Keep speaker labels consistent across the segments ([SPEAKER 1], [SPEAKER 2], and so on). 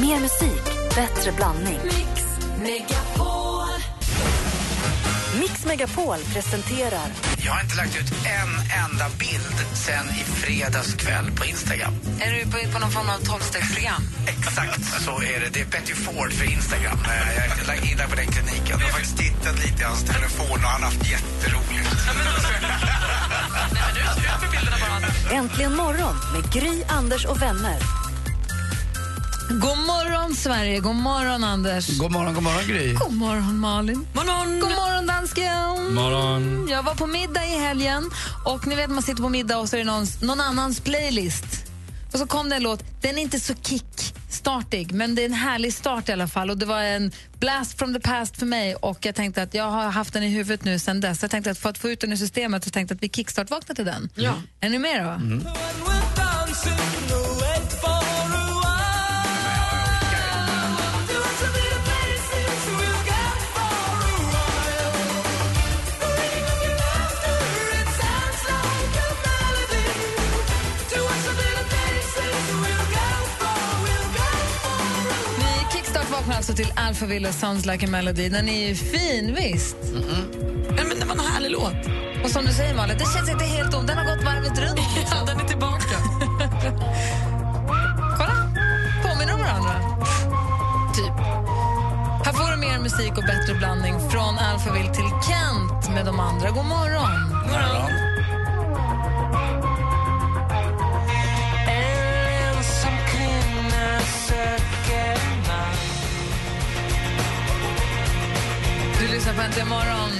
[SPEAKER 1] Mer musik, bättre blandning.
[SPEAKER 2] Mix Megapol.
[SPEAKER 1] Mix Megapol presenterar
[SPEAKER 3] Jag har inte lagt ut en enda bild sen i fredags kväll på Instagram.
[SPEAKER 4] Är du på, på någon form av tolvstegsprogram?
[SPEAKER 3] Exakt så är det. Det är Betty Ford för Instagram. Eh, Jag lagt in på den kliniken. Jag har faktiskt tittat lite i hans telefon och han har haft jätteroligt.
[SPEAKER 1] Äntligen morgon med Gry, Anders och vänner.
[SPEAKER 4] God morgon, Sverige. God morgon, Anders.
[SPEAKER 3] God morgon, god morgon Gry.
[SPEAKER 4] God morgon, Malin. Morgon. God morgon, dansken.
[SPEAKER 5] morgon.
[SPEAKER 4] Jag var på middag i helgen och ni vet man sitter på middag och så är det någon, någon annans playlist. Och så kom det en låt, den är inte så kickstartig men det är en härlig start i alla fall och det var en blast from the past för mig och jag tänkte att jag har haft den i huvudet nu sen dess. Jag tänkte att för att få ut den ur systemet så tänkte jag att vi kickstart-vaknar till den. Ja. Är ni med då?
[SPEAKER 3] Mm.
[SPEAKER 4] Ni kickstart vaknar alltså till Alpha Villa Sounds Like a Melody. Den är ju fin, visst?
[SPEAKER 6] Men det var en härlig låt.
[SPEAKER 4] Och som du säger, Malin, det känns inte helt om. Den har gått varvet runt.
[SPEAKER 6] Ja, den är tillbaka.
[SPEAKER 4] Kolla! Påminner om varandra. Typ. Här får du mer musik och bättre blandning från Alphaville till Kent med de andra. God morgon! Du lyssnar på Äntligen morgon.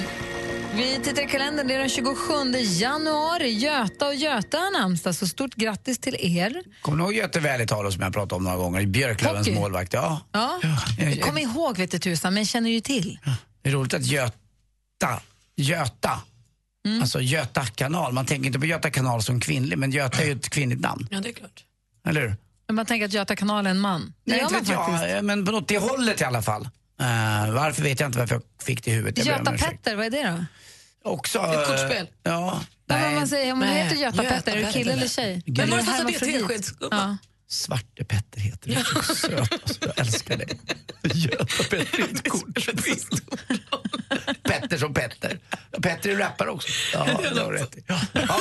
[SPEAKER 4] Vi tittar i kalendern. Det är den 27 januari. Göta och Göta har namnsdag, så stort grattis till er.
[SPEAKER 3] Kommer ni ihåg Göte Välitalo som jag pratade om några gånger? Björklövens
[SPEAKER 4] Hockey.
[SPEAKER 3] målvakt. Ja.
[SPEAKER 4] Ja.
[SPEAKER 3] jag-
[SPEAKER 4] Jag kommer ihåg, vet du tusan, men känner ju till.
[SPEAKER 3] Det är roligt att Göta, Göta, alltså Göta kanal. Man tänker inte på Göta kanal som kvinnlig, men Göta är ju ett kvinnligt namn.
[SPEAKER 6] Ja, det är klart.
[SPEAKER 3] Eller hur?
[SPEAKER 4] Men man tänker att Göta kanal är en man. Det
[SPEAKER 3] Nej,
[SPEAKER 4] gör
[SPEAKER 3] inte
[SPEAKER 4] man
[SPEAKER 3] vet
[SPEAKER 4] faktiskt.
[SPEAKER 3] jag, men på något det hållet i alla fall. Eh, varför vet jag inte varför jag fick det i huvudet. Jag ber om
[SPEAKER 4] Göta
[SPEAKER 3] ursäkt.
[SPEAKER 4] Petter, vad är det då?
[SPEAKER 3] Också,
[SPEAKER 6] Ett
[SPEAKER 3] eh,
[SPEAKER 6] kortspel.
[SPEAKER 3] Ja.
[SPEAKER 4] Nej,
[SPEAKER 3] Nej,
[SPEAKER 4] vad man säger, om hon
[SPEAKER 6] Nej.
[SPEAKER 4] heter Göta,
[SPEAKER 6] Göta
[SPEAKER 4] Petter, är du kille
[SPEAKER 6] Petter.
[SPEAKER 4] eller tjej?
[SPEAKER 3] Men
[SPEAKER 4] Eller
[SPEAKER 3] var det
[SPEAKER 4] är
[SPEAKER 6] så att
[SPEAKER 4] härma
[SPEAKER 6] det är
[SPEAKER 4] förbi?
[SPEAKER 6] teskedsgubbar?
[SPEAKER 4] Ja.
[SPEAKER 3] Svarte Petter heter det. Det är så söt. Alltså, jag älskar det. Göta Petter är ett kortspel. Petter som Petter. Petter är rappare också. Ja, det har du rätt i. Ja. Ja.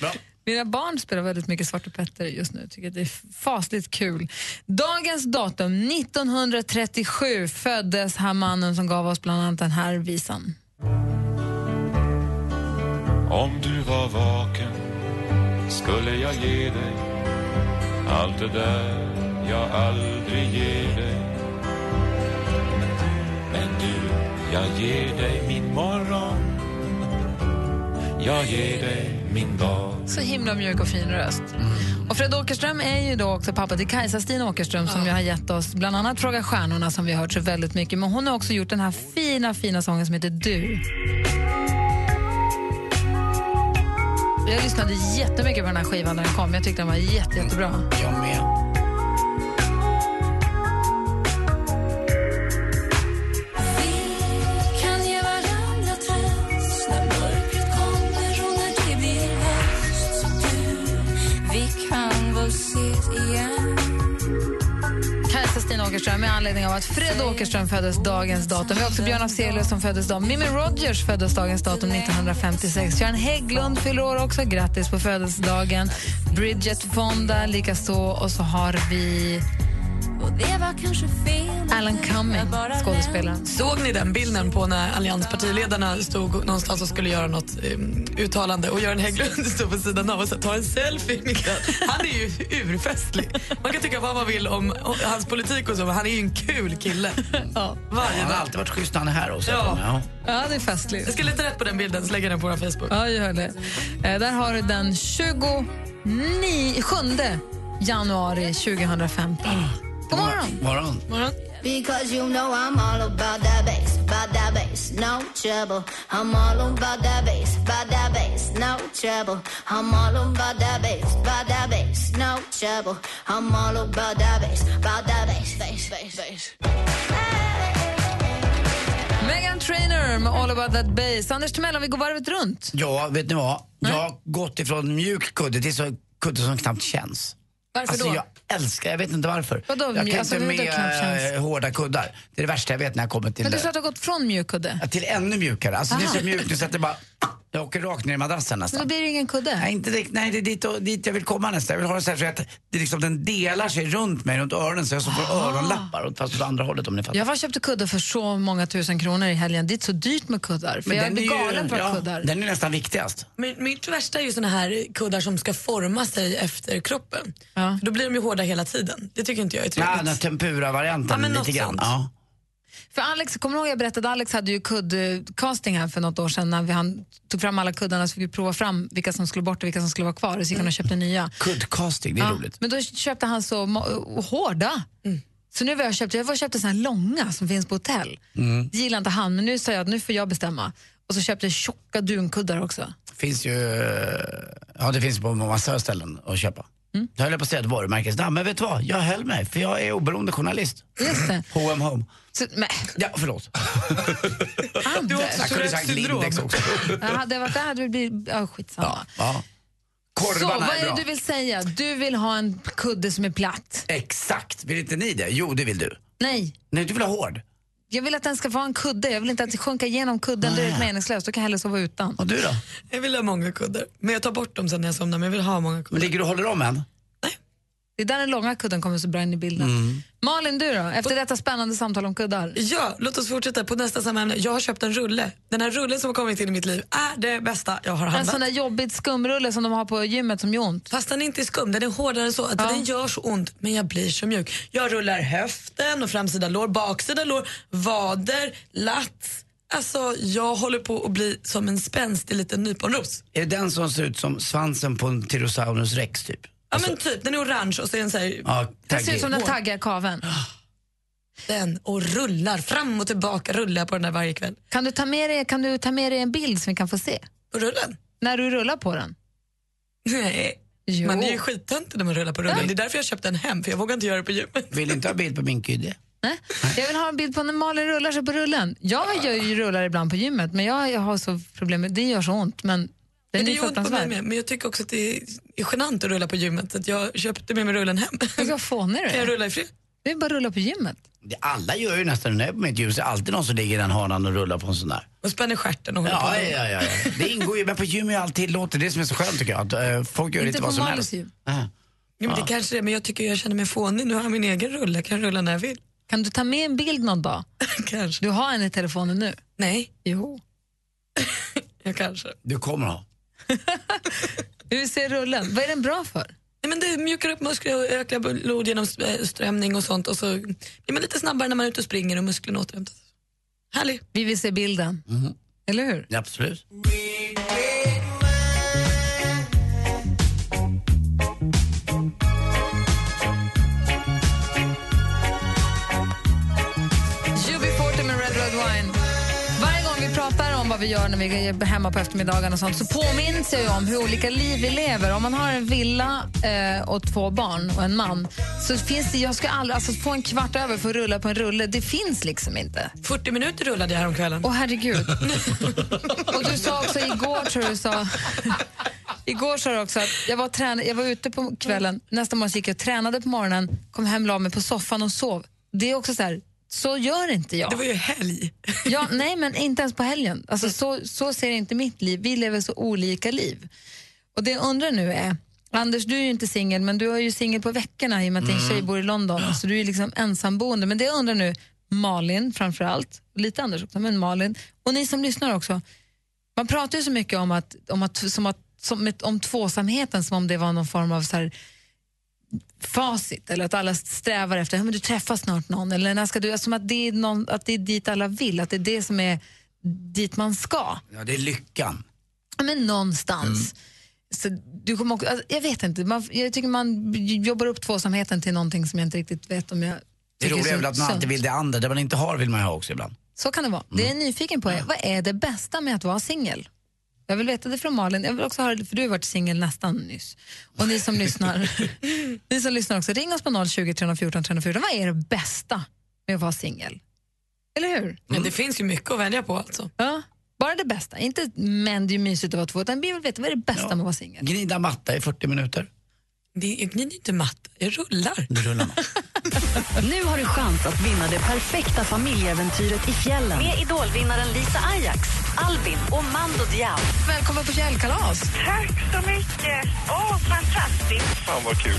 [SPEAKER 3] Bra.
[SPEAKER 4] Mina barn spelar väldigt mycket Svarte Petter just nu. Tycker att det är fasligt kul. Dagens datum, 1937, föddes här mannen som gav oss bland annat den här visan.
[SPEAKER 7] Om du var vaken skulle jag ge dig allt det där jag aldrig ger dig. Men du, jag ger dig min morgon. Jag ger dig min dag.
[SPEAKER 4] Så himla mjuk och fin röst.
[SPEAKER 3] Mm.
[SPEAKER 4] Och Fred Åkerström är ju då också pappa till Kajsa-Stina Åkerström som ju har gett oss bland annat Fråga stjärnorna som vi har hört så väldigt mycket. Men hon har också gjort den här fina, fina sången som heter Du. Jag lyssnade jättemycket på den här skivan när den kom. Jag tyckte den var jätte, jättebra.
[SPEAKER 3] Jag med.
[SPEAKER 4] Kajsa-Stina Åkerström med anledning av att Fred Åkerström föddes dagens datum. Vi har också Björn Afzelius som föddes dagen. Mimi Rogers föddes dagens datum 1956. Göran Hägglund fyller år också. Grattis på födelsedagen. Bridget Fonda likaså. Och så har vi Alan Cumming, skådespelaren.
[SPEAKER 6] Såg ni den bilden på när allianspartiledarna stod någonstans och skulle göra något em, uttalande och Göran Hägglund stod på sidan av och sa ta en selfie Mikael. Han är ju urfestlig. Man kan tycka vad man vill om om hans politik och så, men han är ju en kul kille. Ja, varje
[SPEAKER 3] Han har
[SPEAKER 6] dag.
[SPEAKER 3] alltid varit schysst när han är här också.
[SPEAKER 6] Ja.
[SPEAKER 3] Ja.
[SPEAKER 4] Ja, det är festligt.
[SPEAKER 6] Jag ska leta rätt på den bilden så lägger jag den på vår Facebook.
[SPEAKER 4] Ja, gör det. Eh, där har du den 29, 7 januari 2015. God morgon!
[SPEAKER 3] Morgon.
[SPEAKER 8] Because you know I'm all about that bass, about that bass, no trouble. I'm all about that bass, about that bass, no trouble. I'm all about that bass, about that bass, no trouble. I'm all about that bass, about that bass, bass, bass, bass.
[SPEAKER 4] Megan Trainor med All about that bass. Anders Timell, om vi går varvet runt.
[SPEAKER 3] Ja, vet ni vad? Jag har gått ifrån mjuk kudde till så kudde som knappt känns.
[SPEAKER 4] Varför
[SPEAKER 3] alltså,
[SPEAKER 4] då?
[SPEAKER 3] Jag älskar, jag vet inte varför.
[SPEAKER 4] Vadå,
[SPEAKER 3] jag kan
[SPEAKER 4] alltså,
[SPEAKER 3] inte
[SPEAKER 4] huden knappt
[SPEAKER 3] med
[SPEAKER 4] känns?
[SPEAKER 3] eh, hårda kuddar. Det är det värsta jag vet när jag kommer till
[SPEAKER 4] Men det är
[SPEAKER 3] det.
[SPEAKER 4] så att du har gått från mjuk kudde.
[SPEAKER 3] Ja, Till ännu mjukare. Alltså det
[SPEAKER 4] Aha.
[SPEAKER 3] är så mjukt så att det bara... Jag åker rakt ner i madrassen
[SPEAKER 4] Men då
[SPEAKER 3] nästan.
[SPEAKER 4] blir det ingen kudde.
[SPEAKER 3] Nej, inte direkt, nej, det är dit, och, dit jag vill komma nästan. Jag vill ha det så här så att det är liksom, den delar sig runt mig, runt öronen, så jag så får öronlappar. och- Fast åt andra hållet om ni fattar.
[SPEAKER 4] Jag var köpte kuddar för så många tusen kronor i helgen. Det är så dyrt med kuddar. För jag
[SPEAKER 3] den
[SPEAKER 4] blir
[SPEAKER 3] är ju-
[SPEAKER 4] galen på
[SPEAKER 3] ja,
[SPEAKER 4] kuddar.
[SPEAKER 3] Den är nästan viktigast.
[SPEAKER 6] Men mitt värsta är ju såna här kuddar som ska forma sig efter kroppen.
[SPEAKER 4] Ja.
[SPEAKER 6] För då blir de ju hårda hela tiden. Det tycker inte jag är
[SPEAKER 3] Ja,
[SPEAKER 6] trevligt.
[SPEAKER 3] den här
[SPEAKER 6] Ja,
[SPEAKER 3] tempura-varianten
[SPEAKER 6] men något
[SPEAKER 3] lite grann.
[SPEAKER 6] sånt.
[SPEAKER 3] Ja.
[SPEAKER 4] För Alex, kommer du ihåg jag berättade Alex hade ju kuddcasting här för något år sedan när vi, han tog fram alla kuddarna så fick vi prova fram vilka som skulle bort och vilka som skulle vara kvar och så gick han och köpte nya.
[SPEAKER 3] Kuddcasting, det är roligt.
[SPEAKER 4] Men då köpte han så ma- hårda. Så nu var jag köpt, jag var och köpte såna här långa som finns på hotell.
[SPEAKER 3] Mm.
[SPEAKER 4] Det gillar inte han, men nu sa jag att nu får jag bestämma. Och så köpte jag tjocka dunkuddar också.
[SPEAKER 3] finns ju eh, ja, det finns på massa ställen att köpa. Mm. Jag höll på att säga ett varumärkesnamn, men vet du vad? Jag höll mig, för jag är oberoende journalist.
[SPEAKER 4] Just det.
[SPEAKER 3] H&M Home.
[SPEAKER 4] Så, men,
[SPEAKER 3] Ja, förlåt.
[SPEAKER 4] Anders,
[SPEAKER 3] Jag kunde sagt Lindex också.
[SPEAKER 4] Ja, hade jag varit där hade det blivit... Ja, skitsamma.
[SPEAKER 3] Ja.
[SPEAKER 4] så, vad
[SPEAKER 3] Korvarna är
[SPEAKER 4] är
[SPEAKER 3] bra.
[SPEAKER 4] det du vill säga? Du vill ha en kudde som är platt?
[SPEAKER 3] Exakt, vill inte ni det? Jo, det vill du.
[SPEAKER 4] Nej.
[SPEAKER 3] Nej, du vill ha hård.
[SPEAKER 4] Jag vill att den ska vara en kudde. Jag vill inte att det sjunka igenom kudden. Det är helt meningslöst. Då kan jag hellre sova utan.
[SPEAKER 3] Och du då?
[SPEAKER 6] Jag vill ha många kuddar. Men jag tar bort dem sen när jag somnar. Men jag vill ha många kuddar.
[SPEAKER 3] Men ligger du och håller om än?
[SPEAKER 4] Det är där den långa kudden kommer så bra in i bilden.
[SPEAKER 3] Mm.
[SPEAKER 4] Malin, du då? Efter detta spännande samtal om kuddar.
[SPEAKER 6] Ja, låt oss fortsätta på nästa samma ämne. Jag har köpt en rulle. Den här rullen som har kommit in i mitt liv är det bästa jag har
[SPEAKER 4] En
[SPEAKER 6] handlat.
[SPEAKER 4] sån där jobbig skumrulle som de har på gymmet som gör ont.
[SPEAKER 6] Fast den är inte skum, den är hårdare än så. Att Den gör så ont, men jag blir så mjuk. Jag rullar höften och framsida lår, baksida lår, vader, lats. Alltså, jag håller på att bli som en spänstig liten nyponros.
[SPEAKER 3] Är det den som ser ut som svansen på en Tyrannosaurus rex typ?
[SPEAKER 6] Ja, men typ, den är orange och så är den så här, Ah.
[SPEAKER 3] Ja,
[SPEAKER 4] Det ser
[SPEAKER 3] taggig.
[SPEAKER 4] ut som den taggar kaven.
[SPEAKER 6] den och rullar fram och tillbaka, rullar jag på den där varje kväll.
[SPEAKER 4] Kan du, ta med dig, kan du ta med dig en bild som vi kan få se?
[SPEAKER 6] På rullen?
[SPEAKER 4] När du rullar på den.
[SPEAKER 6] Nej.
[SPEAKER 4] Jo.
[SPEAKER 6] Man är ju skittöntig när man rullar på rullen. Det är därför jag köpte en hem, för jag vågar inte göra det på gymmet.
[SPEAKER 3] Vill inte ha bild på min kudde?
[SPEAKER 4] Nej. Jag vill ha en bild på när Malin rullar sig på rullen. Jag gör ju rullar ibland på gymmet, men jag, jag har så problem med det. gör så ont, men den
[SPEAKER 6] Men
[SPEAKER 4] är
[SPEAKER 6] det
[SPEAKER 4] ju
[SPEAKER 6] gör ont på mig
[SPEAKER 4] fruktansvärd.
[SPEAKER 6] med, men jag tycker också att det är är genant att rulla på gymmet. Så Att jag köpte med mig rullen hem.
[SPEAKER 4] Tänk vad fånig du
[SPEAKER 6] Kan jag
[SPEAKER 4] är.
[SPEAKER 6] rulla i fred?
[SPEAKER 4] Det är bara att rulla på gymmet.
[SPEAKER 3] Det- Alla gör ju nästan det när jag är på mitt ljus. Det är alltid någon som ligger i den hörnan och rullar på en sån där.
[SPEAKER 6] Och spänner stjärten och håller på.
[SPEAKER 3] Ja,
[SPEAKER 6] med.
[SPEAKER 3] ja, ja, ja. Det ingår ju, men på gym är allt tillåtet. Det är det som är så skönt tycker jag. Att, eh, folk gör
[SPEAKER 4] Inte
[SPEAKER 3] lite
[SPEAKER 4] på
[SPEAKER 3] vad som
[SPEAKER 4] Malus
[SPEAKER 3] helst.
[SPEAKER 4] gym.
[SPEAKER 3] Nej.
[SPEAKER 6] Jo, men det kanske det är, men jag tycker jag känner mig fånig. Nu har jag min egen rulle, jag kan rulla när jag vill.
[SPEAKER 4] Kan du ta med en bild någon dag?
[SPEAKER 6] kanske.
[SPEAKER 4] Du har en i telefonen nu.
[SPEAKER 6] Nej,
[SPEAKER 4] Jo.
[SPEAKER 6] jag kanske.
[SPEAKER 3] Du kommer ha.
[SPEAKER 4] Hur ser rullen? Vad är den bra för?
[SPEAKER 6] Nej, men det mjukar upp muskler och ökar blodgenomströmning eh, och sånt. Och så blir man lite snabbare när man är ute och springer och musklerna återhämtas. Härlig.
[SPEAKER 4] Vi vill se bilden. Eller hur?
[SPEAKER 3] Ja, Absolut.
[SPEAKER 4] UB40 med Red Red Wine. Varje gång vi pratar om vad vi gör när vi är hemma på eftermiddagen och sånt så påminns jag ju om hur olika liv vi lever. Om man har en villa eh, och två barn och en man så finns det, jag ska aldrig, alltså få en kvart över för att rulla på en rulle, det finns liksom inte.
[SPEAKER 6] 40 minuter rullade jag häromkvällen.
[SPEAKER 4] Åh herregud. och du sa också igår, tror jag du sa, igår sa du också att jag var, trän- jag var ute på kvällen, nästa morgon så gick jag och tränade på morgonen, kom hem, la mig på soffan och sov. Det är också så här, så gör inte jag.
[SPEAKER 6] Det var ju helg.
[SPEAKER 4] Ja, nej, men inte ens på helgen. Alltså, så, så ser inte mitt liv. Vi lever så olika liv. Och Det jag undrar nu är, Anders du är ju inte singel, men du är ju singel på veckorna i och med att
[SPEAKER 6] Mm.
[SPEAKER 4] din tjej bor i London, så du är liksom ensamboende. Men det jag undrar nu, Malin framför allt, lite Anders också, men Malin, och ni som lyssnar också. Man pratar ju så mycket om, att, om, att, som att, som ett, om tvåsamheten som om det var någon form av så här, facit eller att alla strävar efter att du träffar snart någon eller när ska du, alltså som att det, är någon, att det är dit alla vill, att det är det som är dit man ska.
[SPEAKER 3] Ja, det är lyckan. Mm.
[SPEAKER 4] Ja, Men någonstans. Så du kommer också, alltså, jag vet inte, man, jag tycker man jobbar upp tvåsamheten till någonting som jag inte riktigt vet om jag
[SPEAKER 3] Det
[SPEAKER 4] tycker
[SPEAKER 3] roliga är väl
[SPEAKER 4] så-
[SPEAKER 3] att man alltid vill det andra. Det man inte har vill man ju ha också ibland.
[SPEAKER 4] Så kan det vara. Det jag
[SPEAKER 6] Mm.
[SPEAKER 4] är nyfiken på är, vad är det bästa med att vara singel? Jag vill veta det från Malin, jag vill också höra det, för du har varit singel nästan nyss. Och ni som lyssnar, ni som lyssnar också, ring oss på 020 314 314. Vad är det bästa med att vara singel? Eller hur?
[SPEAKER 6] Men det finns ju mycket att välja på alltså.
[SPEAKER 4] Ja. Bara det bästa, inte men det är ju mysigt att vara två, utan vi vill veta vad är det bästa med att vara singel?
[SPEAKER 3] Gnida matta i 40 minuter.
[SPEAKER 6] Det, jag gnider inte matta, jag rullar.
[SPEAKER 3] Nu rullar man.
[SPEAKER 1] Nu har du chans att vinna det perfekta familjeäventyret i fjällen. Med idolvinnaren Lisa Ajax, Albin och Mando Diao.
[SPEAKER 4] Välkommen på fjällkalas.
[SPEAKER 5] Tack så mycket. Åh, fantastiskt.
[SPEAKER 9] Fan vad kul.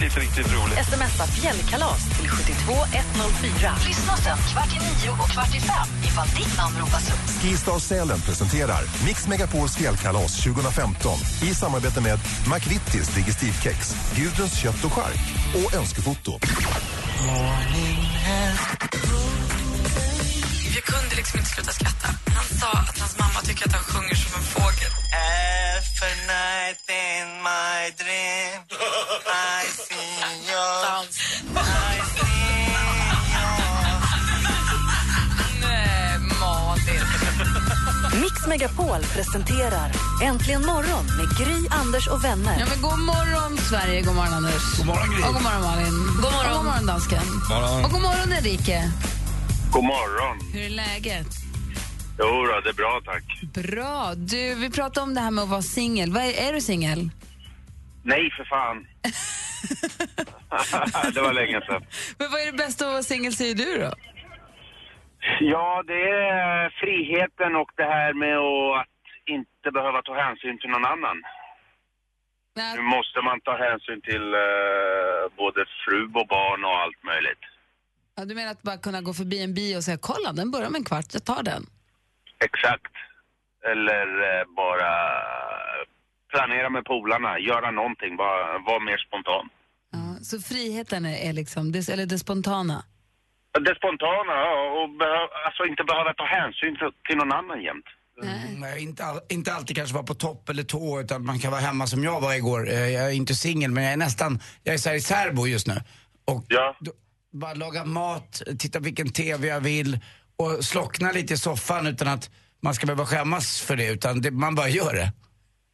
[SPEAKER 9] Riktigt, riktigt roligt.
[SPEAKER 1] Smsa fjällkalas till 72104. Lyssna sen kvart i nio och kvart i fem ifall ditt namn ropas upp.
[SPEAKER 10] Skistar Sälen presenterar Mix Megapols fjällkalas 2015 i samarbete med McVittys Digestivkex, Gudruns kött och skark och Önskefoto.
[SPEAKER 6] Jag kunde liksom inte sluta skratta. Han sa att hans mamma tycker att han sjunger som en fågel.
[SPEAKER 5] Every night in my dream I see your...
[SPEAKER 6] Dans.
[SPEAKER 5] I see your...
[SPEAKER 6] Nej, Malin.
[SPEAKER 1] Mix Megapol presenterar Äntligen morgon med Gry, Anders och
[SPEAKER 4] Ja,
[SPEAKER 1] vänner.
[SPEAKER 4] men god morgon, Sverige. God morgon, Anders. God
[SPEAKER 3] morgon, Gry.
[SPEAKER 4] Och god morgon, Malin. God morgon, och god morgon dansken.
[SPEAKER 3] Morgon.
[SPEAKER 4] Och god morgon, Enrique.
[SPEAKER 9] God morgon.
[SPEAKER 4] Hur är läget?
[SPEAKER 9] Jo då, det är bra tack.
[SPEAKER 4] Bra. Du, vi pratade om det här med att vara singel. Vad Är, är du singel?
[SPEAKER 9] Nej, för fan. det var länge sedan.
[SPEAKER 4] Men vad är det bästa att vara singel, säger du då?
[SPEAKER 9] Ja, det är friheten och det här med att inte behöva ta hänsyn till någon annan.
[SPEAKER 4] Nej,
[SPEAKER 9] Nu måste man ta hänsyn till eh, både fru och barn och allt möjligt.
[SPEAKER 4] ja, du menar att bara kunna gå förbi en bio och säga kolla, den börjar om en kvart, jag tar den.
[SPEAKER 9] Exakt. Eller eh, bara planera med polarna, göra någonting, bara vara mer spontan.
[SPEAKER 4] Ja, så friheten är, är liksom, det, eller det spontana.
[SPEAKER 9] Det spontana, ja, och behö- alltså inte behöva ta hänsyn till- till någon annan jämt.
[SPEAKER 3] Mm, inte, all, inte alltid kanske vara på topp eller tå utan man kan vara hemma som jag var igår. Eh, Jag är inte singel men jag är nästan, jag är så här i särbo just nu. Och
[SPEAKER 9] Ja.
[SPEAKER 3] då, bara laga mat, titta vilken TV jag vill och slockna lite i soffan utan att man ska behöva skämmas för det utan det, man bara gör det.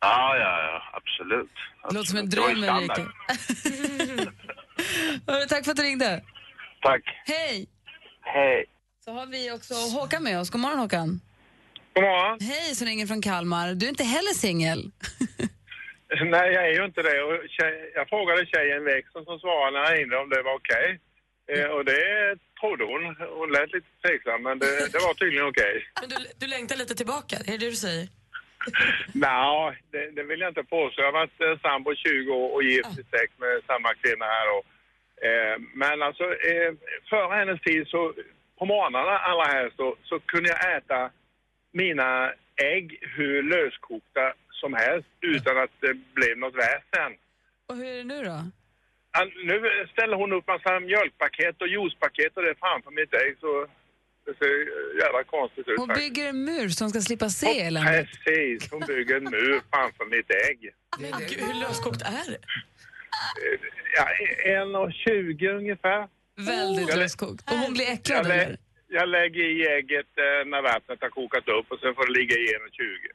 [SPEAKER 9] Ja, ja, ja, absolut.
[SPEAKER 4] Det låter som en
[SPEAKER 9] Absolut. Det var ju
[SPEAKER 4] dröm,
[SPEAKER 9] standard.
[SPEAKER 4] Enrique. Hörru, Tack för att du ringde.
[SPEAKER 9] Tack.
[SPEAKER 4] Hej!
[SPEAKER 9] Hej.
[SPEAKER 4] Så har vi också Håkan med oss. God morgon, Håkan.
[SPEAKER 9] God morgon.
[SPEAKER 4] Hej, som ringer från Kalmar. Du är inte heller singel.
[SPEAKER 5] Nej, jag är ju inte det. Och tjej, jag frågade tjejen växeln som svarade när jag ringde om det var okej. Eh, Och det trodde hon. Hon lät lite tveksam, men det, det var tydligen okej.
[SPEAKER 6] Men du, du längtar lite tillbaka, är det det du säger?
[SPEAKER 5] Nej, det, det vill jag inte påstå. Jag har varit eh, sambo i 20 år och gift i sex med samma kvinna här. Och, eh, men alltså, eh, före hennes tid så, på morgnarna allra helst, då, så kunde jag äta mina ägg hur löskokta som helst utan att det blev något väsen.
[SPEAKER 4] Och hur är det nu då?
[SPEAKER 5] An- Nu ställer hon upp massa mjölkpaket och juicepaket och det framför mitt ägg så det ser jävla konstigt ut
[SPEAKER 4] Hon
[SPEAKER 5] faktiskt.
[SPEAKER 4] bygger en mur som ska slippa se
[SPEAKER 5] Och
[SPEAKER 4] eländet.
[SPEAKER 5] Precis, hon bygger en mur framför mitt ägg.
[SPEAKER 6] Men gud, hur löskokt är det?
[SPEAKER 5] Ja, en och tjugo ungefär.
[SPEAKER 4] Väldigt
[SPEAKER 5] Jag lä-
[SPEAKER 4] löskokt. Och hon blir äcklad
[SPEAKER 5] Jag, lä-
[SPEAKER 4] eller?
[SPEAKER 5] jag lägger i ägget eh, när vattnet har kokat upp och sen får det ligga i en och tjugo.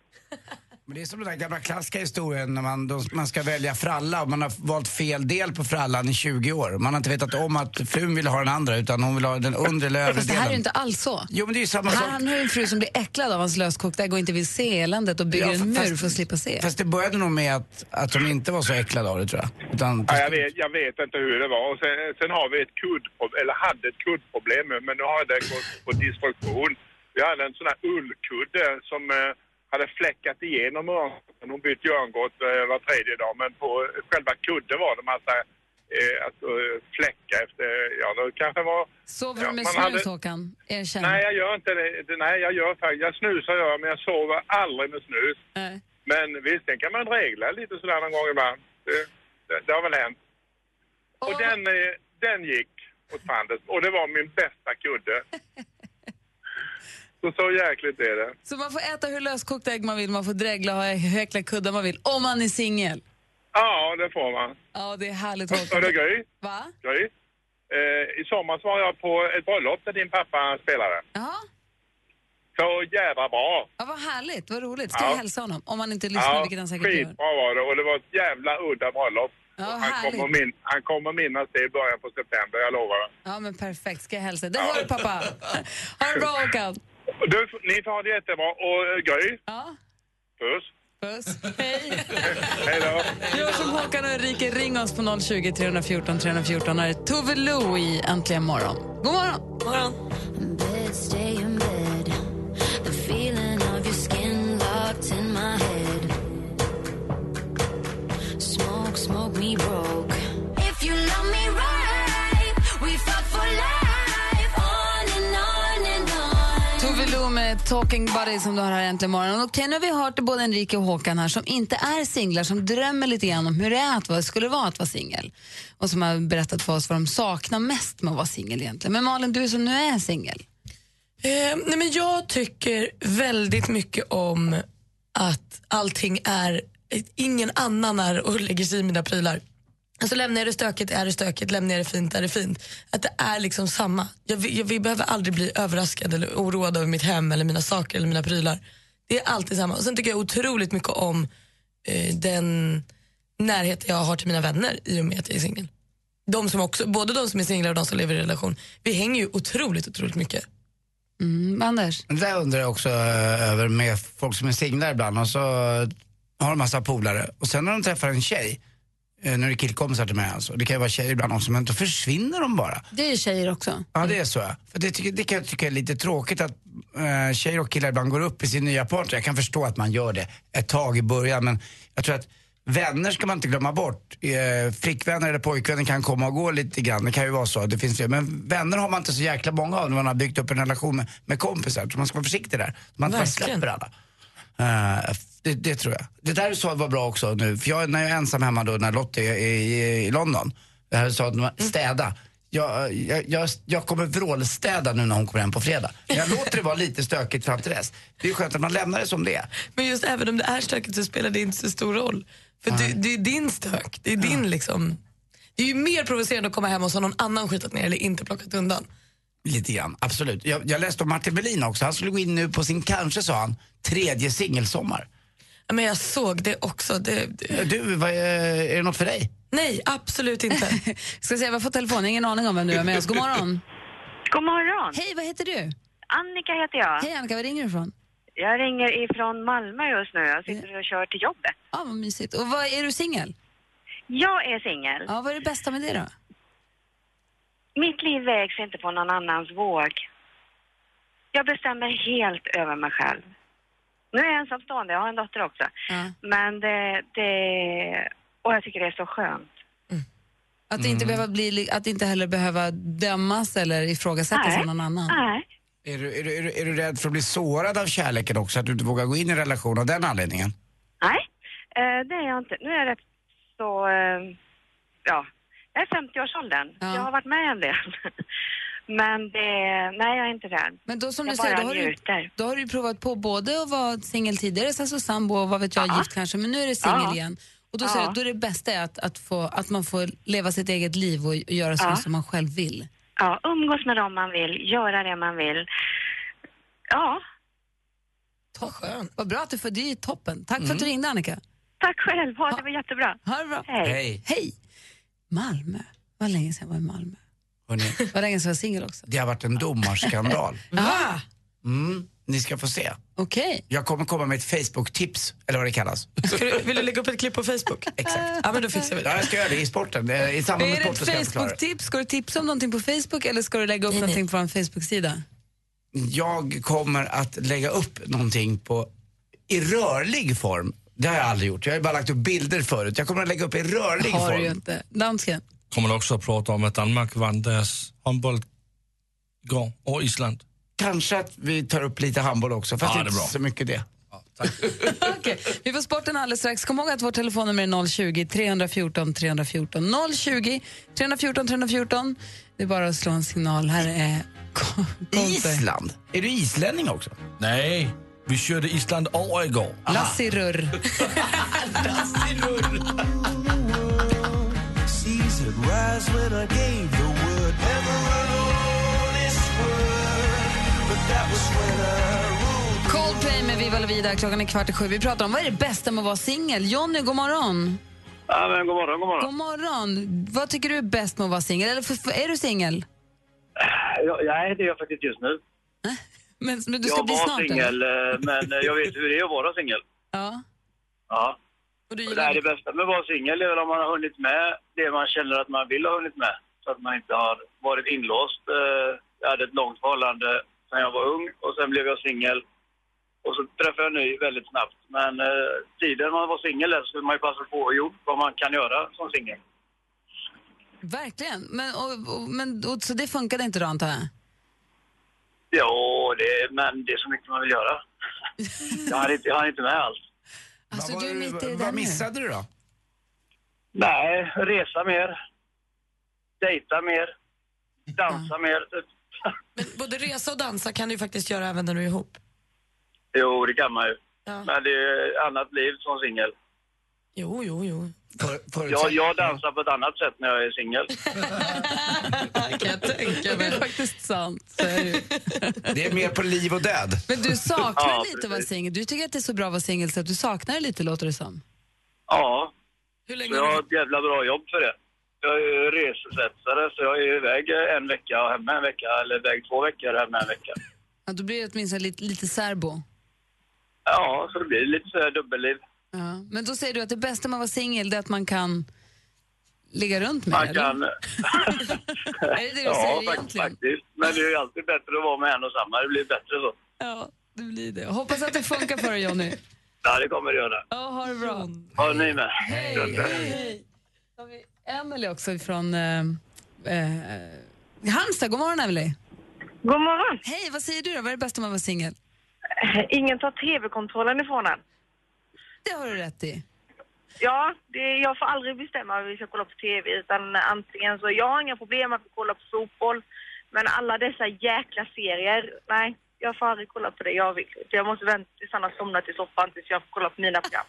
[SPEAKER 3] Men det är som den där gamla klassiska historien när man, de, man ska välja fralla och man har valt fel del på frallan i 20 år. Man har inte vetat om att frun vill ha den andra utan hon vill ha den undre eller övre
[SPEAKER 4] Fast det här är ju
[SPEAKER 3] delen.
[SPEAKER 4] inte alls så.
[SPEAKER 3] Jo men det är ju samma
[SPEAKER 4] Här
[SPEAKER 3] sak.
[SPEAKER 4] han har ju en fru som blir äcklad av hans löskokta ägg och inte vill se eländet och bygger
[SPEAKER 3] Ja,
[SPEAKER 4] en
[SPEAKER 3] fast-
[SPEAKER 4] mur för att slippa se.
[SPEAKER 3] Fast det började nog med att, att de inte var så äcklade av det tror jag. Utan, typ-
[SPEAKER 5] Ja, jag, vet, jag vet inte hur det var. Och sen, sen har vi ett kuddproblem, eller hade ett kuddproblem, men nu har det gått på destruktion. Jag hade en sån här ullkudde som eh, hade fläckat igenom örngotten. Hon bytte ju örngott eh, var tredje dag, men på eh, själva kudden var det massa eh, alltså, eh, fläckar efter, ja det kanske var
[SPEAKER 4] Sover du
[SPEAKER 5] Ja,
[SPEAKER 4] med
[SPEAKER 5] man
[SPEAKER 4] snus
[SPEAKER 5] hade-
[SPEAKER 4] Håkan? Erkänn.
[SPEAKER 5] Nej, jag gör inte det. Det- Nej, jag gör faktiskt. Jag snusar gör jag, men jag sover aldrig med snus.
[SPEAKER 4] Nej.
[SPEAKER 5] Men visst, sen kan man regla lite sådär någon gång ibland. Det, det, det har väl hänt. Och
[SPEAKER 4] Och-
[SPEAKER 5] den, eh, den gick åt fanders. Och det var min bästa kudde. Så, så jäkligt är det.
[SPEAKER 4] Så man får äta hur löskokt ägg man vill, man får dregla och ha hur äckliga kuddar man vill, om man är singel.
[SPEAKER 5] Ja, det får man.
[SPEAKER 4] Ja, det är härligt
[SPEAKER 5] Och det är
[SPEAKER 4] Håkan.
[SPEAKER 5] Gry.
[SPEAKER 4] Va?
[SPEAKER 5] Gry. Eh, I somras var jag på ett bröllop där din pappa spelade.
[SPEAKER 4] Ja,
[SPEAKER 5] Så jävla bra.
[SPEAKER 4] ja vad härligt, vad roligt. Ska
[SPEAKER 5] Ja.
[SPEAKER 4] jag hälsa honom? Om han inte lyssnar, vilket han säkert gör.
[SPEAKER 5] skitbra var det. Och det var ett jävla udda bröllop.
[SPEAKER 4] Ja,
[SPEAKER 5] han,
[SPEAKER 4] härligt.
[SPEAKER 5] kommer min, han kommer minnas det i början på september, jag lovar.
[SPEAKER 4] Ja, men perfekt. Ska jag hälsa? Det hör du, pappa. Ha det bra, Håkan.
[SPEAKER 5] Du, ni får ha det jättebra. Och eh, Gry,
[SPEAKER 4] Ja.
[SPEAKER 5] puss.
[SPEAKER 4] Puss. Hej.
[SPEAKER 5] Hej då.
[SPEAKER 4] Gör som Håkan och Enrique, ring oss på 020 314 314. Här är Tove Lo i Äntligen morgon. God morgon!
[SPEAKER 6] morgon.
[SPEAKER 8] Bed, stay in bed. The feeling of your skin locked in my head. Smoke, smoke me broke. If you love me right, we fuck for life. On and on and on.
[SPEAKER 4] Tove Lo med Talking Buddies som du har här Äntligen morgon. Och Okej, nu har vi hört både Enrique och Håkan här som inte är singlar, som drömmer lite grann om hur det är att vara, skulle vara att vara singel. Och som har berättat för oss vad de saknar mest med att vara singel egentligen. Men Malin, du som nu är singel.
[SPEAKER 6] Eh, nej men jag tycker väldigt mycket om att allting är, ingen annan är och lägger sig i mina prylar. Alltså lämnar jag det stökigt är det stökigt, lämnar jag det fint är det fint. Att det är liksom samma. Jag, vi- jag, vi behöver aldrig bli överraskad eller oroad över mitt hem eller mina saker eller mina prylar. Det är alltid samma. Och sen tycker jag otroligt mycket om eh, den närhet jag har till mina vänner i och med att jag är singel. De som också, både de som är singlar och de som lever i relation. Vi hänger ju otroligt, otroligt mycket.
[SPEAKER 4] Mm, Anders?
[SPEAKER 3] Det där undrar jag också eh, över med folk som är singlar ibland och så eh, har de massa polare och sen när de träffar en tjej, eh, nu är det killkompisar till mig alltså, det kan ju vara tjejer ibland också, men då försvinner de bara.
[SPEAKER 4] Det är ju tjejer också.
[SPEAKER 3] Ja det är så. ja. För det, tycker, det kan jag tycka är lite tråkigt att eh, tjejer och killar ibland går upp i sin nya partner. Jag kan förstå att man gör det ett tag i början men jag tror att vänner ska man inte glömma bort. Eh, flickvänner eller pojkvänner kan komma och gå lite grann. Det kan ju vara så. Det finns, ju- men vänner har man inte så jäkla många av när man har byggt upp en relation med, med kompisar. Så man ska vara försiktig där. Man inte bara
[SPEAKER 6] Verkligen.
[SPEAKER 3] släpper alla. Eh, det, det tror jag. Det där sa var bra också nu, för jag, när jag är ensam hemma då när Lottie är i, i London, det här sa att man- städa. Jag, jag, jag, jag kommer vrålstäda nu när hon kommer hem på fredag. Men Jag låter det vara lite stökigt fram till dess. Det är skönt att man lämnar det som det är.
[SPEAKER 6] Men just även om det är stökigt så spelar det inte så stor roll. För det, det är din stök. Det är din liksom... Det är ju mer provocerande att komma hem och så har någon annan skitat ner eller inte plockat undan.
[SPEAKER 3] Lite grann, absolut. Jag, jag läste om Martin Berlin också. Han skulle gå in nu på sin, kanske sa han, tredje singelsommar.
[SPEAKER 6] Ja, Men jag såg det också. Det, det...
[SPEAKER 3] Du, vad, är är det något för dig?
[SPEAKER 6] Nej, absolut inte.
[SPEAKER 4] Ska se, vad får telefon? Ingen aning om vem du är med oss. God morgon.
[SPEAKER 11] God morgon!
[SPEAKER 4] Hej, vad heter du?
[SPEAKER 11] Annika heter jag.
[SPEAKER 4] Hej Annika, var ringer du ifrån?
[SPEAKER 11] Jag ringer ifrån Malmö just nu. Jag sitter och kör till jobbet.
[SPEAKER 4] Ja, vad mysigt. Och vad, är du singel?
[SPEAKER 11] Jag är singel.
[SPEAKER 4] Ja, vad är det bästa med det då?
[SPEAKER 11] Mitt liv vägs inte på någon annans våg. Jag bestämmer helt över mig själv. Nu är jag ensamstående, jag har en dotter också.
[SPEAKER 4] Ja.
[SPEAKER 11] Men det, det... Och jag tycker det är så skönt.
[SPEAKER 4] Att, inte
[SPEAKER 6] Mm.
[SPEAKER 4] behöva bli, li- att inte heller behöva dömas eller ifrågasättas av någon annan.
[SPEAKER 11] Nej.
[SPEAKER 3] Är du, är, du, är, du, är du rädd för att bli sårad av kärleken också? Att du inte vågar gå in i en relation av den anledningen?
[SPEAKER 11] Nej, eh, det är jag inte. Nu är jag rätt så... eh, Ja, jag är 50-årsåldern.
[SPEAKER 4] Ja.
[SPEAKER 11] Jag har varit med en del. Men det... Nej, jag är inte rädd.
[SPEAKER 4] Men då som
[SPEAKER 11] Jag
[SPEAKER 4] du säger,
[SPEAKER 11] bara
[SPEAKER 4] då har du,
[SPEAKER 11] njuter.
[SPEAKER 4] då har du provat på både att vara singel tidigare, sen så sambo och vad vet jag, gift kanske, men nu är du singel
[SPEAKER 11] Ja.
[SPEAKER 4] igen. Och då säger
[SPEAKER 11] Ja.
[SPEAKER 4] du att då är det bästa är att, att, få, att man får leva sitt eget liv och göra sånt
[SPEAKER 11] Ja.
[SPEAKER 4] som man själv vill.
[SPEAKER 11] Ja, umgås med dem man vill, göra det man vill. Ja,
[SPEAKER 4] Toppen. Vad bra att du får, det är ju toppen. Tack för att du ringde Annika.
[SPEAKER 11] Mm. tack själv. Ha, det var jättebra.
[SPEAKER 4] Ha det bra.
[SPEAKER 11] Hej.
[SPEAKER 3] Hej.
[SPEAKER 4] Hej! Malmö. Vad länge sedan jag var i Malmö.
[SPEAKER 3] Hörrni,
[SPEAKER 4] Vad länge sedan jag var singel också.
[SPEAKER 3] det har varit en domarskandal.
[SPEAKER 6] Va?
[SPEAKER 3] Mm, ni ska få se.
[SPEAKER 4] Okej.
[SPEAKER 3] Jag kommer komma med ett Facebook-tips, eller vad det kallas.
[SPEAKER 6] Ska du, vill du lägga upp ett klipp på Facebook?
[SPEAKER 3] Exakt.
[SPEAKER 6] Ja, men då fixar vi
[SPEAKER 3] Ja,
[SPEAKER 6] det.
[SPEAKER 3] jag ska göra det i sporten. Eh, I samband med
[SPEAKER 4] Är det
[SPEAKER 3] sporten ska jag
[SPEAKER 4] ett
[SPEAKER 3] förklara. det.
[SPEAKER 4] Facebook-tips? Ska du tipsa om någonting på Facebook eller ska du lägga upp
[SPEAKER 6] Nej, nej.
[SPEAKER 4] någonting på en Facebook-sida?
[SPEAKER 3] Jag kommer att lägga upp någonting på, i rörlig form. Det har jag aldrig gjort. Jag har ju bara lagt upp bilder förut. Jag kommer att lägga upp i rörlig
[SPEAKER 4] Har du ju
[SPEAKER 3] form.
[SPEAKER 4] inte. Dansken.
[SPEAKER 12] kommer också att prata om att Danmark vann deras handboll igår, och Island.
[SPEAKER 3] Kanske att vi tar upp lite handboll också, fast
[SPEAKER 12] Ja, det
[SPEAKER 3] inte
[SPEAKER 12] är bra.
[SPEAKER 3] så mycket det.
[SPEAKER 4] Okej, Vi får sporten alldeles strax. Kom ihåg att vårt telefonnummer är 020-314 314. 020 314 314. Det är bara att slå en signal. Här är Kom- Kompe.
[SPEAKER 3] Island? Är du islänning också?
[SPEAKER 12] Nej, vi körde Island över igår.
[SPEAKER 4] Lassi Rurr. Coldplay med Viva La Vida. Klockan är kvart i sju. Vi pratar om vad är det bästa med att vara singel. Jonny, god morgon.
[SPEAKER 9] Ja, men god morgon, god morgon.
[SPEAKER 4] God morgon. Vad tycker du är bäst med att vara singel? Eller för, för, är du singel?
[SPEAKER 9] Ja, nej, det är jag faktiskt just nu.
[SPEAKER 4] Äh? Men, men du ska
[SPEAKER 9] Jag
[SPEAKER 4] bli
[SPEAKER 9] var
[SPEAKER 4] snart eller?
[SPEAKER 9] singel, eh, men eh, jag vet hur det är att vara singel.
[SPEAKER 4] Ja.
[SPEAKER 13] Ja. Och det här är det bästa med att vara singel är väl om man har hunnit med det man känner att man vill ha hunnit med. Så att man inte har varit inlåst. Eh, Jag hade ett långt förhållande när jag var ung och sen blev jag singel. Och så träffade jag en ny väldigt snabbt. Men eh, tiden man var singel där så skulle man ju passa på och gjort vad man kan göra som singel.
[SPEAKER 4] Verkligen. Men, och, och, men, och, så det funkade inte då, antar jag?
[SPEAKER 13] Jo, det, men det är så mycket man vill göra. Jag hann inte, jag hann inte med allt.
[SPEAKER 4] Alltså,
[SPEAKER 3] vad, var- vad missade du då?
[SPEAKER 13] Nej, resa mer. Dejta mer. Dansa mer. Typ.
[SPEAKER 6] Både resa och dansa kan du ju faktiskt göra även när du är ihop.
[SPEAKER 13] Jo, det kan man ju.
[SPEAKER 6] Ja.
[SPEAKER 13] Men det är ett annat liv som singel.
[SPEAKER 6] Jo, jo, jo.
[SPEAKER 13] Jag, jag dansar på ett annat sätt när jag är singel.
[SPEAKER 4] Det är faktiskt sant. så är det ju.
[SPEAKER 3] Det är mer på liv och död.
[SPEAKER 4] Men du saknar
[SPEAKER 3] Ja,
[SPEAKER 4] lite att vara singel. Du tycker att det är så bra att vara singel så att du saknar det lite, låter det som.
[SPEAKER 13] Ja. så jag har ett jävla bra jobb för det. Jag är ju resesvetsare, så jag är iväg en vecka och hemma en vecka. Eller iväg två veckor och hemma en vecka.
[SPEAKER 4] Ja, då blir det åtminstone lite, lite särbo.
[SPEAKER 13] Ja, så det blir lite så här dubbelliv.
[SPEAKER 4] Ja. Men då säger du att det bästa med att vara singel det är att man kan ligga runt med
[SPEAKER 13] Man
[SPEAKER 4] eller?
[SPEAKER 13] kan...
[SPEAKER 4] är det det du
[SPEAKER 13] ja,
[SPEAKER 4] säger
[SPEAKER 13] fakt- faktiskt. Men det är ju alltid bättre att vara med en och samma. Det blir bättre så.
[SPEAKER 4] Ja, det blir det. Hoppas att det funkar för dig, Jonny.
[SPEAKER 13] Ja, det kommer det göra.
[SPEAKER 4] Ja, ha det bra.
[SPEAKER 13] Ha ni med.
[SPEAKER 4] Då har vi Emelie också från eh, eh, Halmstad. God morgon, Emelie.
[SPEAKER 14] God morgon.
[SPEAKER 4] Hej, vad säger du då? Vad är det bästa med att vara singel?
[SPEAKER 14] Ingen tar tv-kontrollen ifrån en.
[SPEAKER 4] Det har du rätt i.
[SPEAKER 14] Ja, det, jag får aldrig bestämma vad vi ska kolla på tv utan antingen så, jag har inga problem att vi kollar på fotboll men alla dessa jäkla serier, nej, jag får aldrig kolla på det jag vill. Så jag måste vänta tills han har somnat i soffan tills jag får kolla på mina program.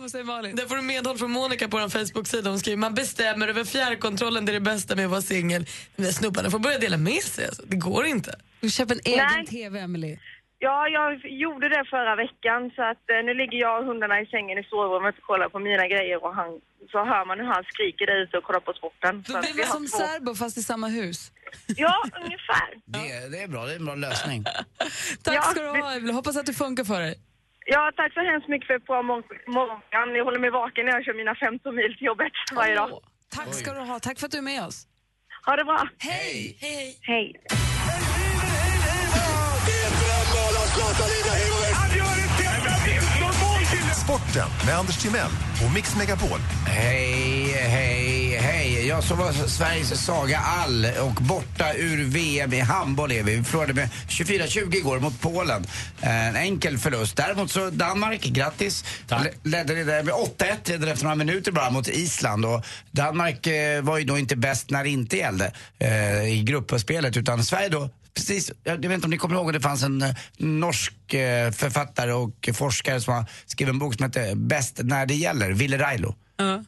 [SPEAKER 4] Vad säger Malin?
[SPEAKER 6] Där får du medhåll från Monica på vår Facebook-sida. Hon skriver man bestämmer över fjärrkontrollen, det är det bästa med att vara singel. Men snubbarna får börja dela med sig. Alltså. Det går inte.
[SPEAKER 4] Du köper en
[SPEAKER 14] Nej.
[SPEAKER 4] egen tv, Emelie.
[SPEAKER 14] Ja, jag gjorde det förra veckan så att eh, nu ligger jag och hundarna i sängen i sovrummet och kollar på mina grejer och han, så hör man hur han skriker där ute och kollar på sporten. Så
[SPEAKER 4] Då
[SPEAKER 14] att
[SPEAKER 4] blir
[SPEAKER 14] vi
[SPEAKER 4] man
[SPEAKER 14] har
[SPEAKER 4] som
[SPEAKER 14] två-
[SPEAKER 4] särbo fast i samma hus.
[SPEAKER 14] Ja, ungefär.
[SPEAKER 3] Det, är- det är bra, det är en bra lösning.
[SPEAKER 4] Tack ska du ha, Emelie. Hoppas att det funkar för dig.
[SPEAKER 14] Ja, tack så hemskt mycket för ett bra mor- morgon. Ni håller mig vaken när jag kör mina 15 mil till jobbet varje dag.
[SPEAKER 4] Tack ska du ha. Tack för att du är med oss.
[SPEAKER 14] Ha det bra.
[SPEAKER 4] Hej!
[SPEAKER 6] Hej!
[SPEAKER 14] Hej.
[SPEAKER 10] Sporten med Anders Timell och Mix Megapol.
[SPEAKER 3] Hej, hej, hej. Jag som var Sveriges Saga All och borta ur VM i handboll är vi. Vi förlorade med 24-20 igår mot Polen. En enkel förlust. Däremot så Danmark, grattis. Le- Ledde det där med 8-1 redan efter några minuter bara mot Island. Och Danmark eh, var ju då inte bäst när det inte gällde eh, i gruppspelet utan Sverige då Precis, jag vet inte om ni kommer ihåg att det fanns en eh, norsk eh, författare och forskare som har skrivit en bok som heter Bäst när det gäller, Ville Railo.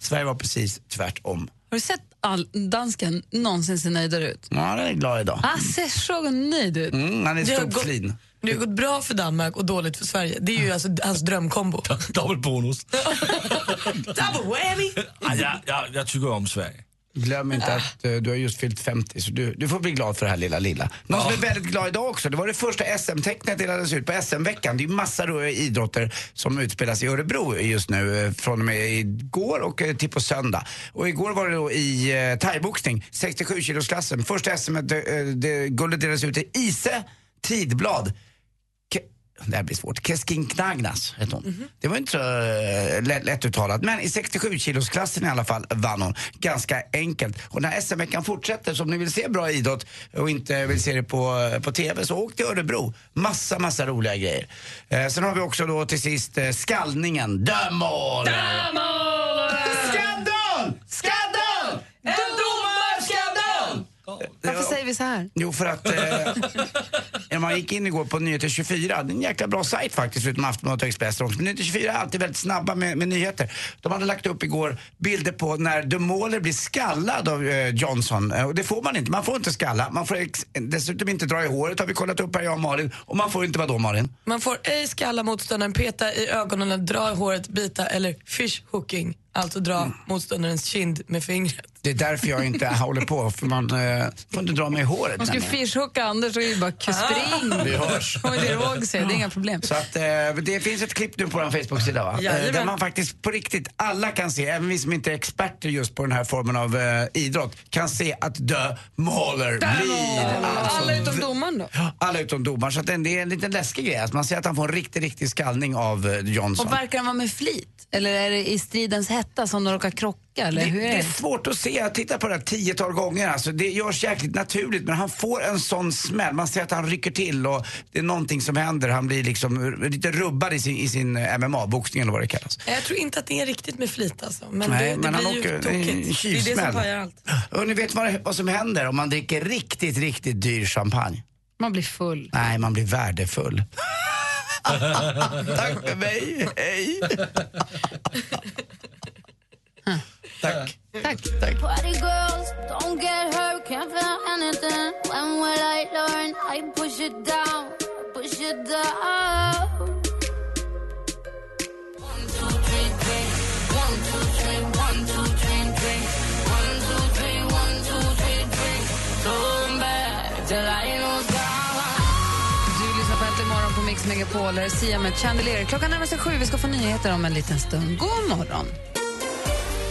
[SPEAKER 3] Sverige var precis tvärtom.
[SPEAKER 4] Har du sett all dansken någonsin se nöjdare ut?
[SPEAKER 3] Ja, han är glad idag.
[SPEAKER 4] Han ser så nöjd ut.
[SPEAKER 3] Mm, han är
[SPEAKER 6] Det har
[SPEAKER 3] stort
[SPEAKER 6] gått-
[SPEAKER 3] flin.
[SPEAKER 6] Det har gått bra för Danmark och dåligt för Sverige. Det är ju alltså hans drömkombo.
[SPEAKER 12] Double bonus.
[SPEAKER 6] Double whammy!
[SPEAKER 12] Ah, jag, jag, jag tycker om Sverige.
[SPEAKER 3] Glöm inte att eh, du har just fyllt 50 så du, du får bli glad för det här lilla lilla. Någon som är väldigt glad idag också, det var det första SM-tecknet delades ut på SM-veckan. Det är ju massor av idrotter som utspelas i Örebro just nu eh, från och med igår och eh, till på söndag. Och igår var det då i eh, thaiboxning, 67-kilosklassen. Första eh, SM-guldet delades ut till Ise Tidblad. Ke- det här blir svårt. Keskin Knagnas hette hon. Det var inte så eh, lätt, lätt uttalat. Men i 67-kilosklassen i alla fall vann hon. Ganska enkelt. Och när SM-veckan fortsätter, så om ni vill se bra idrott och inte vill se det på, eh, på TV, så åk till Örebro. Massa, massa roliga grejer. Eh, sen har vi också då till sist eh, skallningen. Dömål! Skandal! Skandal! En domarskandal!
[SPEAKER 4] Varför säger vi så här?
[SPEAKER 3] Jo, för att eh, när man gick in igår på Nyheter 24, det är en jäkla bra sajt faktiskt, förutom Aftonbladet och Expressen också. Men Nyheter 24 är alltid väldigt snabba med, med nyheter. De hade lagt upp igår bilder på när de Mauler blir skallad av eh, Johnson. Eh, Och det får man inte. Man får inte skalla. Man får ex- dessutom inte dra i håret, har vi kollat upp här, jag och Malin. Och man får inte, vadå Malin?
[SPEAKER 6] Man får ej skalla motståndaren, peta i ögonen, dra i håret, bita eller fishhooking. Alltså dra
[SPEAKER 3] Mm.
[SPEAKER 6] motståndarens kind med fingret.
[SPEAKER 3] Det är därför jag inte håller på, för man eh, får inte dra mig i håret.
[SPEAKER 4] Man skulle
[SPEAKER 3] nämligen.
[SPEAKER 4] fishhooka Anders och ju bara spring.
[SPEAKER 3] Ah. Vi hörs.
[SPEAKER 4] Kommer inte ihåg sig, det är inga problem.
[SPEAKER 3] Så att, eh, det finns ett klipp nu på vår Facebook-sida va? Eh,
[SPEAKER 4] Jajamän.
[SPEAKER 3] där man faktiskt på riktigt, alla kan se, även vi som inte är experter just på den här formen av eh, idrott, kan se att The Mauler blir alltså
[SPEAKER 4] Alla utom domaren då?
[SPEAKER 3] alla utom domaren. Så att det det är en liten läskig grej. Att man ser att han får en riktig, riktig skallning av eh, Johnson.
[SPEAKER 4] Och verkar de vara med flit? Eller är det i stridens hetta som de råkar krocka? Eller
[SPEAKER 3] Det,
[SPEAKER 4] hur
[SPEAKER 3] det
[SPEAKER 4] är
[SPEAKER 3] är
[SPEAKER 4] det?
[SPEAKER 3] svårt att se. Jag tittar på det här tiotal gånger. Alltså, det görs jäkligt naturligt men han får en sån smäll. Man ser att han rycker till och det är någonting som händer. Han blir liksom eh, lite rubbad i sin, i sin eh, MMA-boxning eller vad det kallas.
[SPEAKER 6] Jag tror inte att det är riktigt med flit alltså. Men
[SPEAKER 3] Nej,
[SPEAKER 6] det, det
[SPEAKER 3] men han
[SPEAKER 6] blir ju
[SPEAKER 3] åker- det är en
[SPEAKER 6] tokigt. Det är det som
[SPEAKER 3] tjuvsmäll.
[SPEAKER 6] pajar allt.
[SPEAKER 3] Och ni vet vad, det- vad som händer om man dricker riktigt, riktigt dyr champagne?
[SPEAKER 4] Man blir full.
[SPEAKER 3] Nej, man blir värdefull. Tack för mig, hej! Tack.
[SPEAKER 4] Tack.
[SPEAKER 8] Party girls, don't get hurt, can't feel anything. When will I learn? I push it down, push it down.
[SPEAKER 4] Du lyssnar på Äntligen morgon på Mix Megapol. Här är Sia med Chandelier. Klockan närmar sig sju. Vi ska få nyheter om en liten stund. God morgon!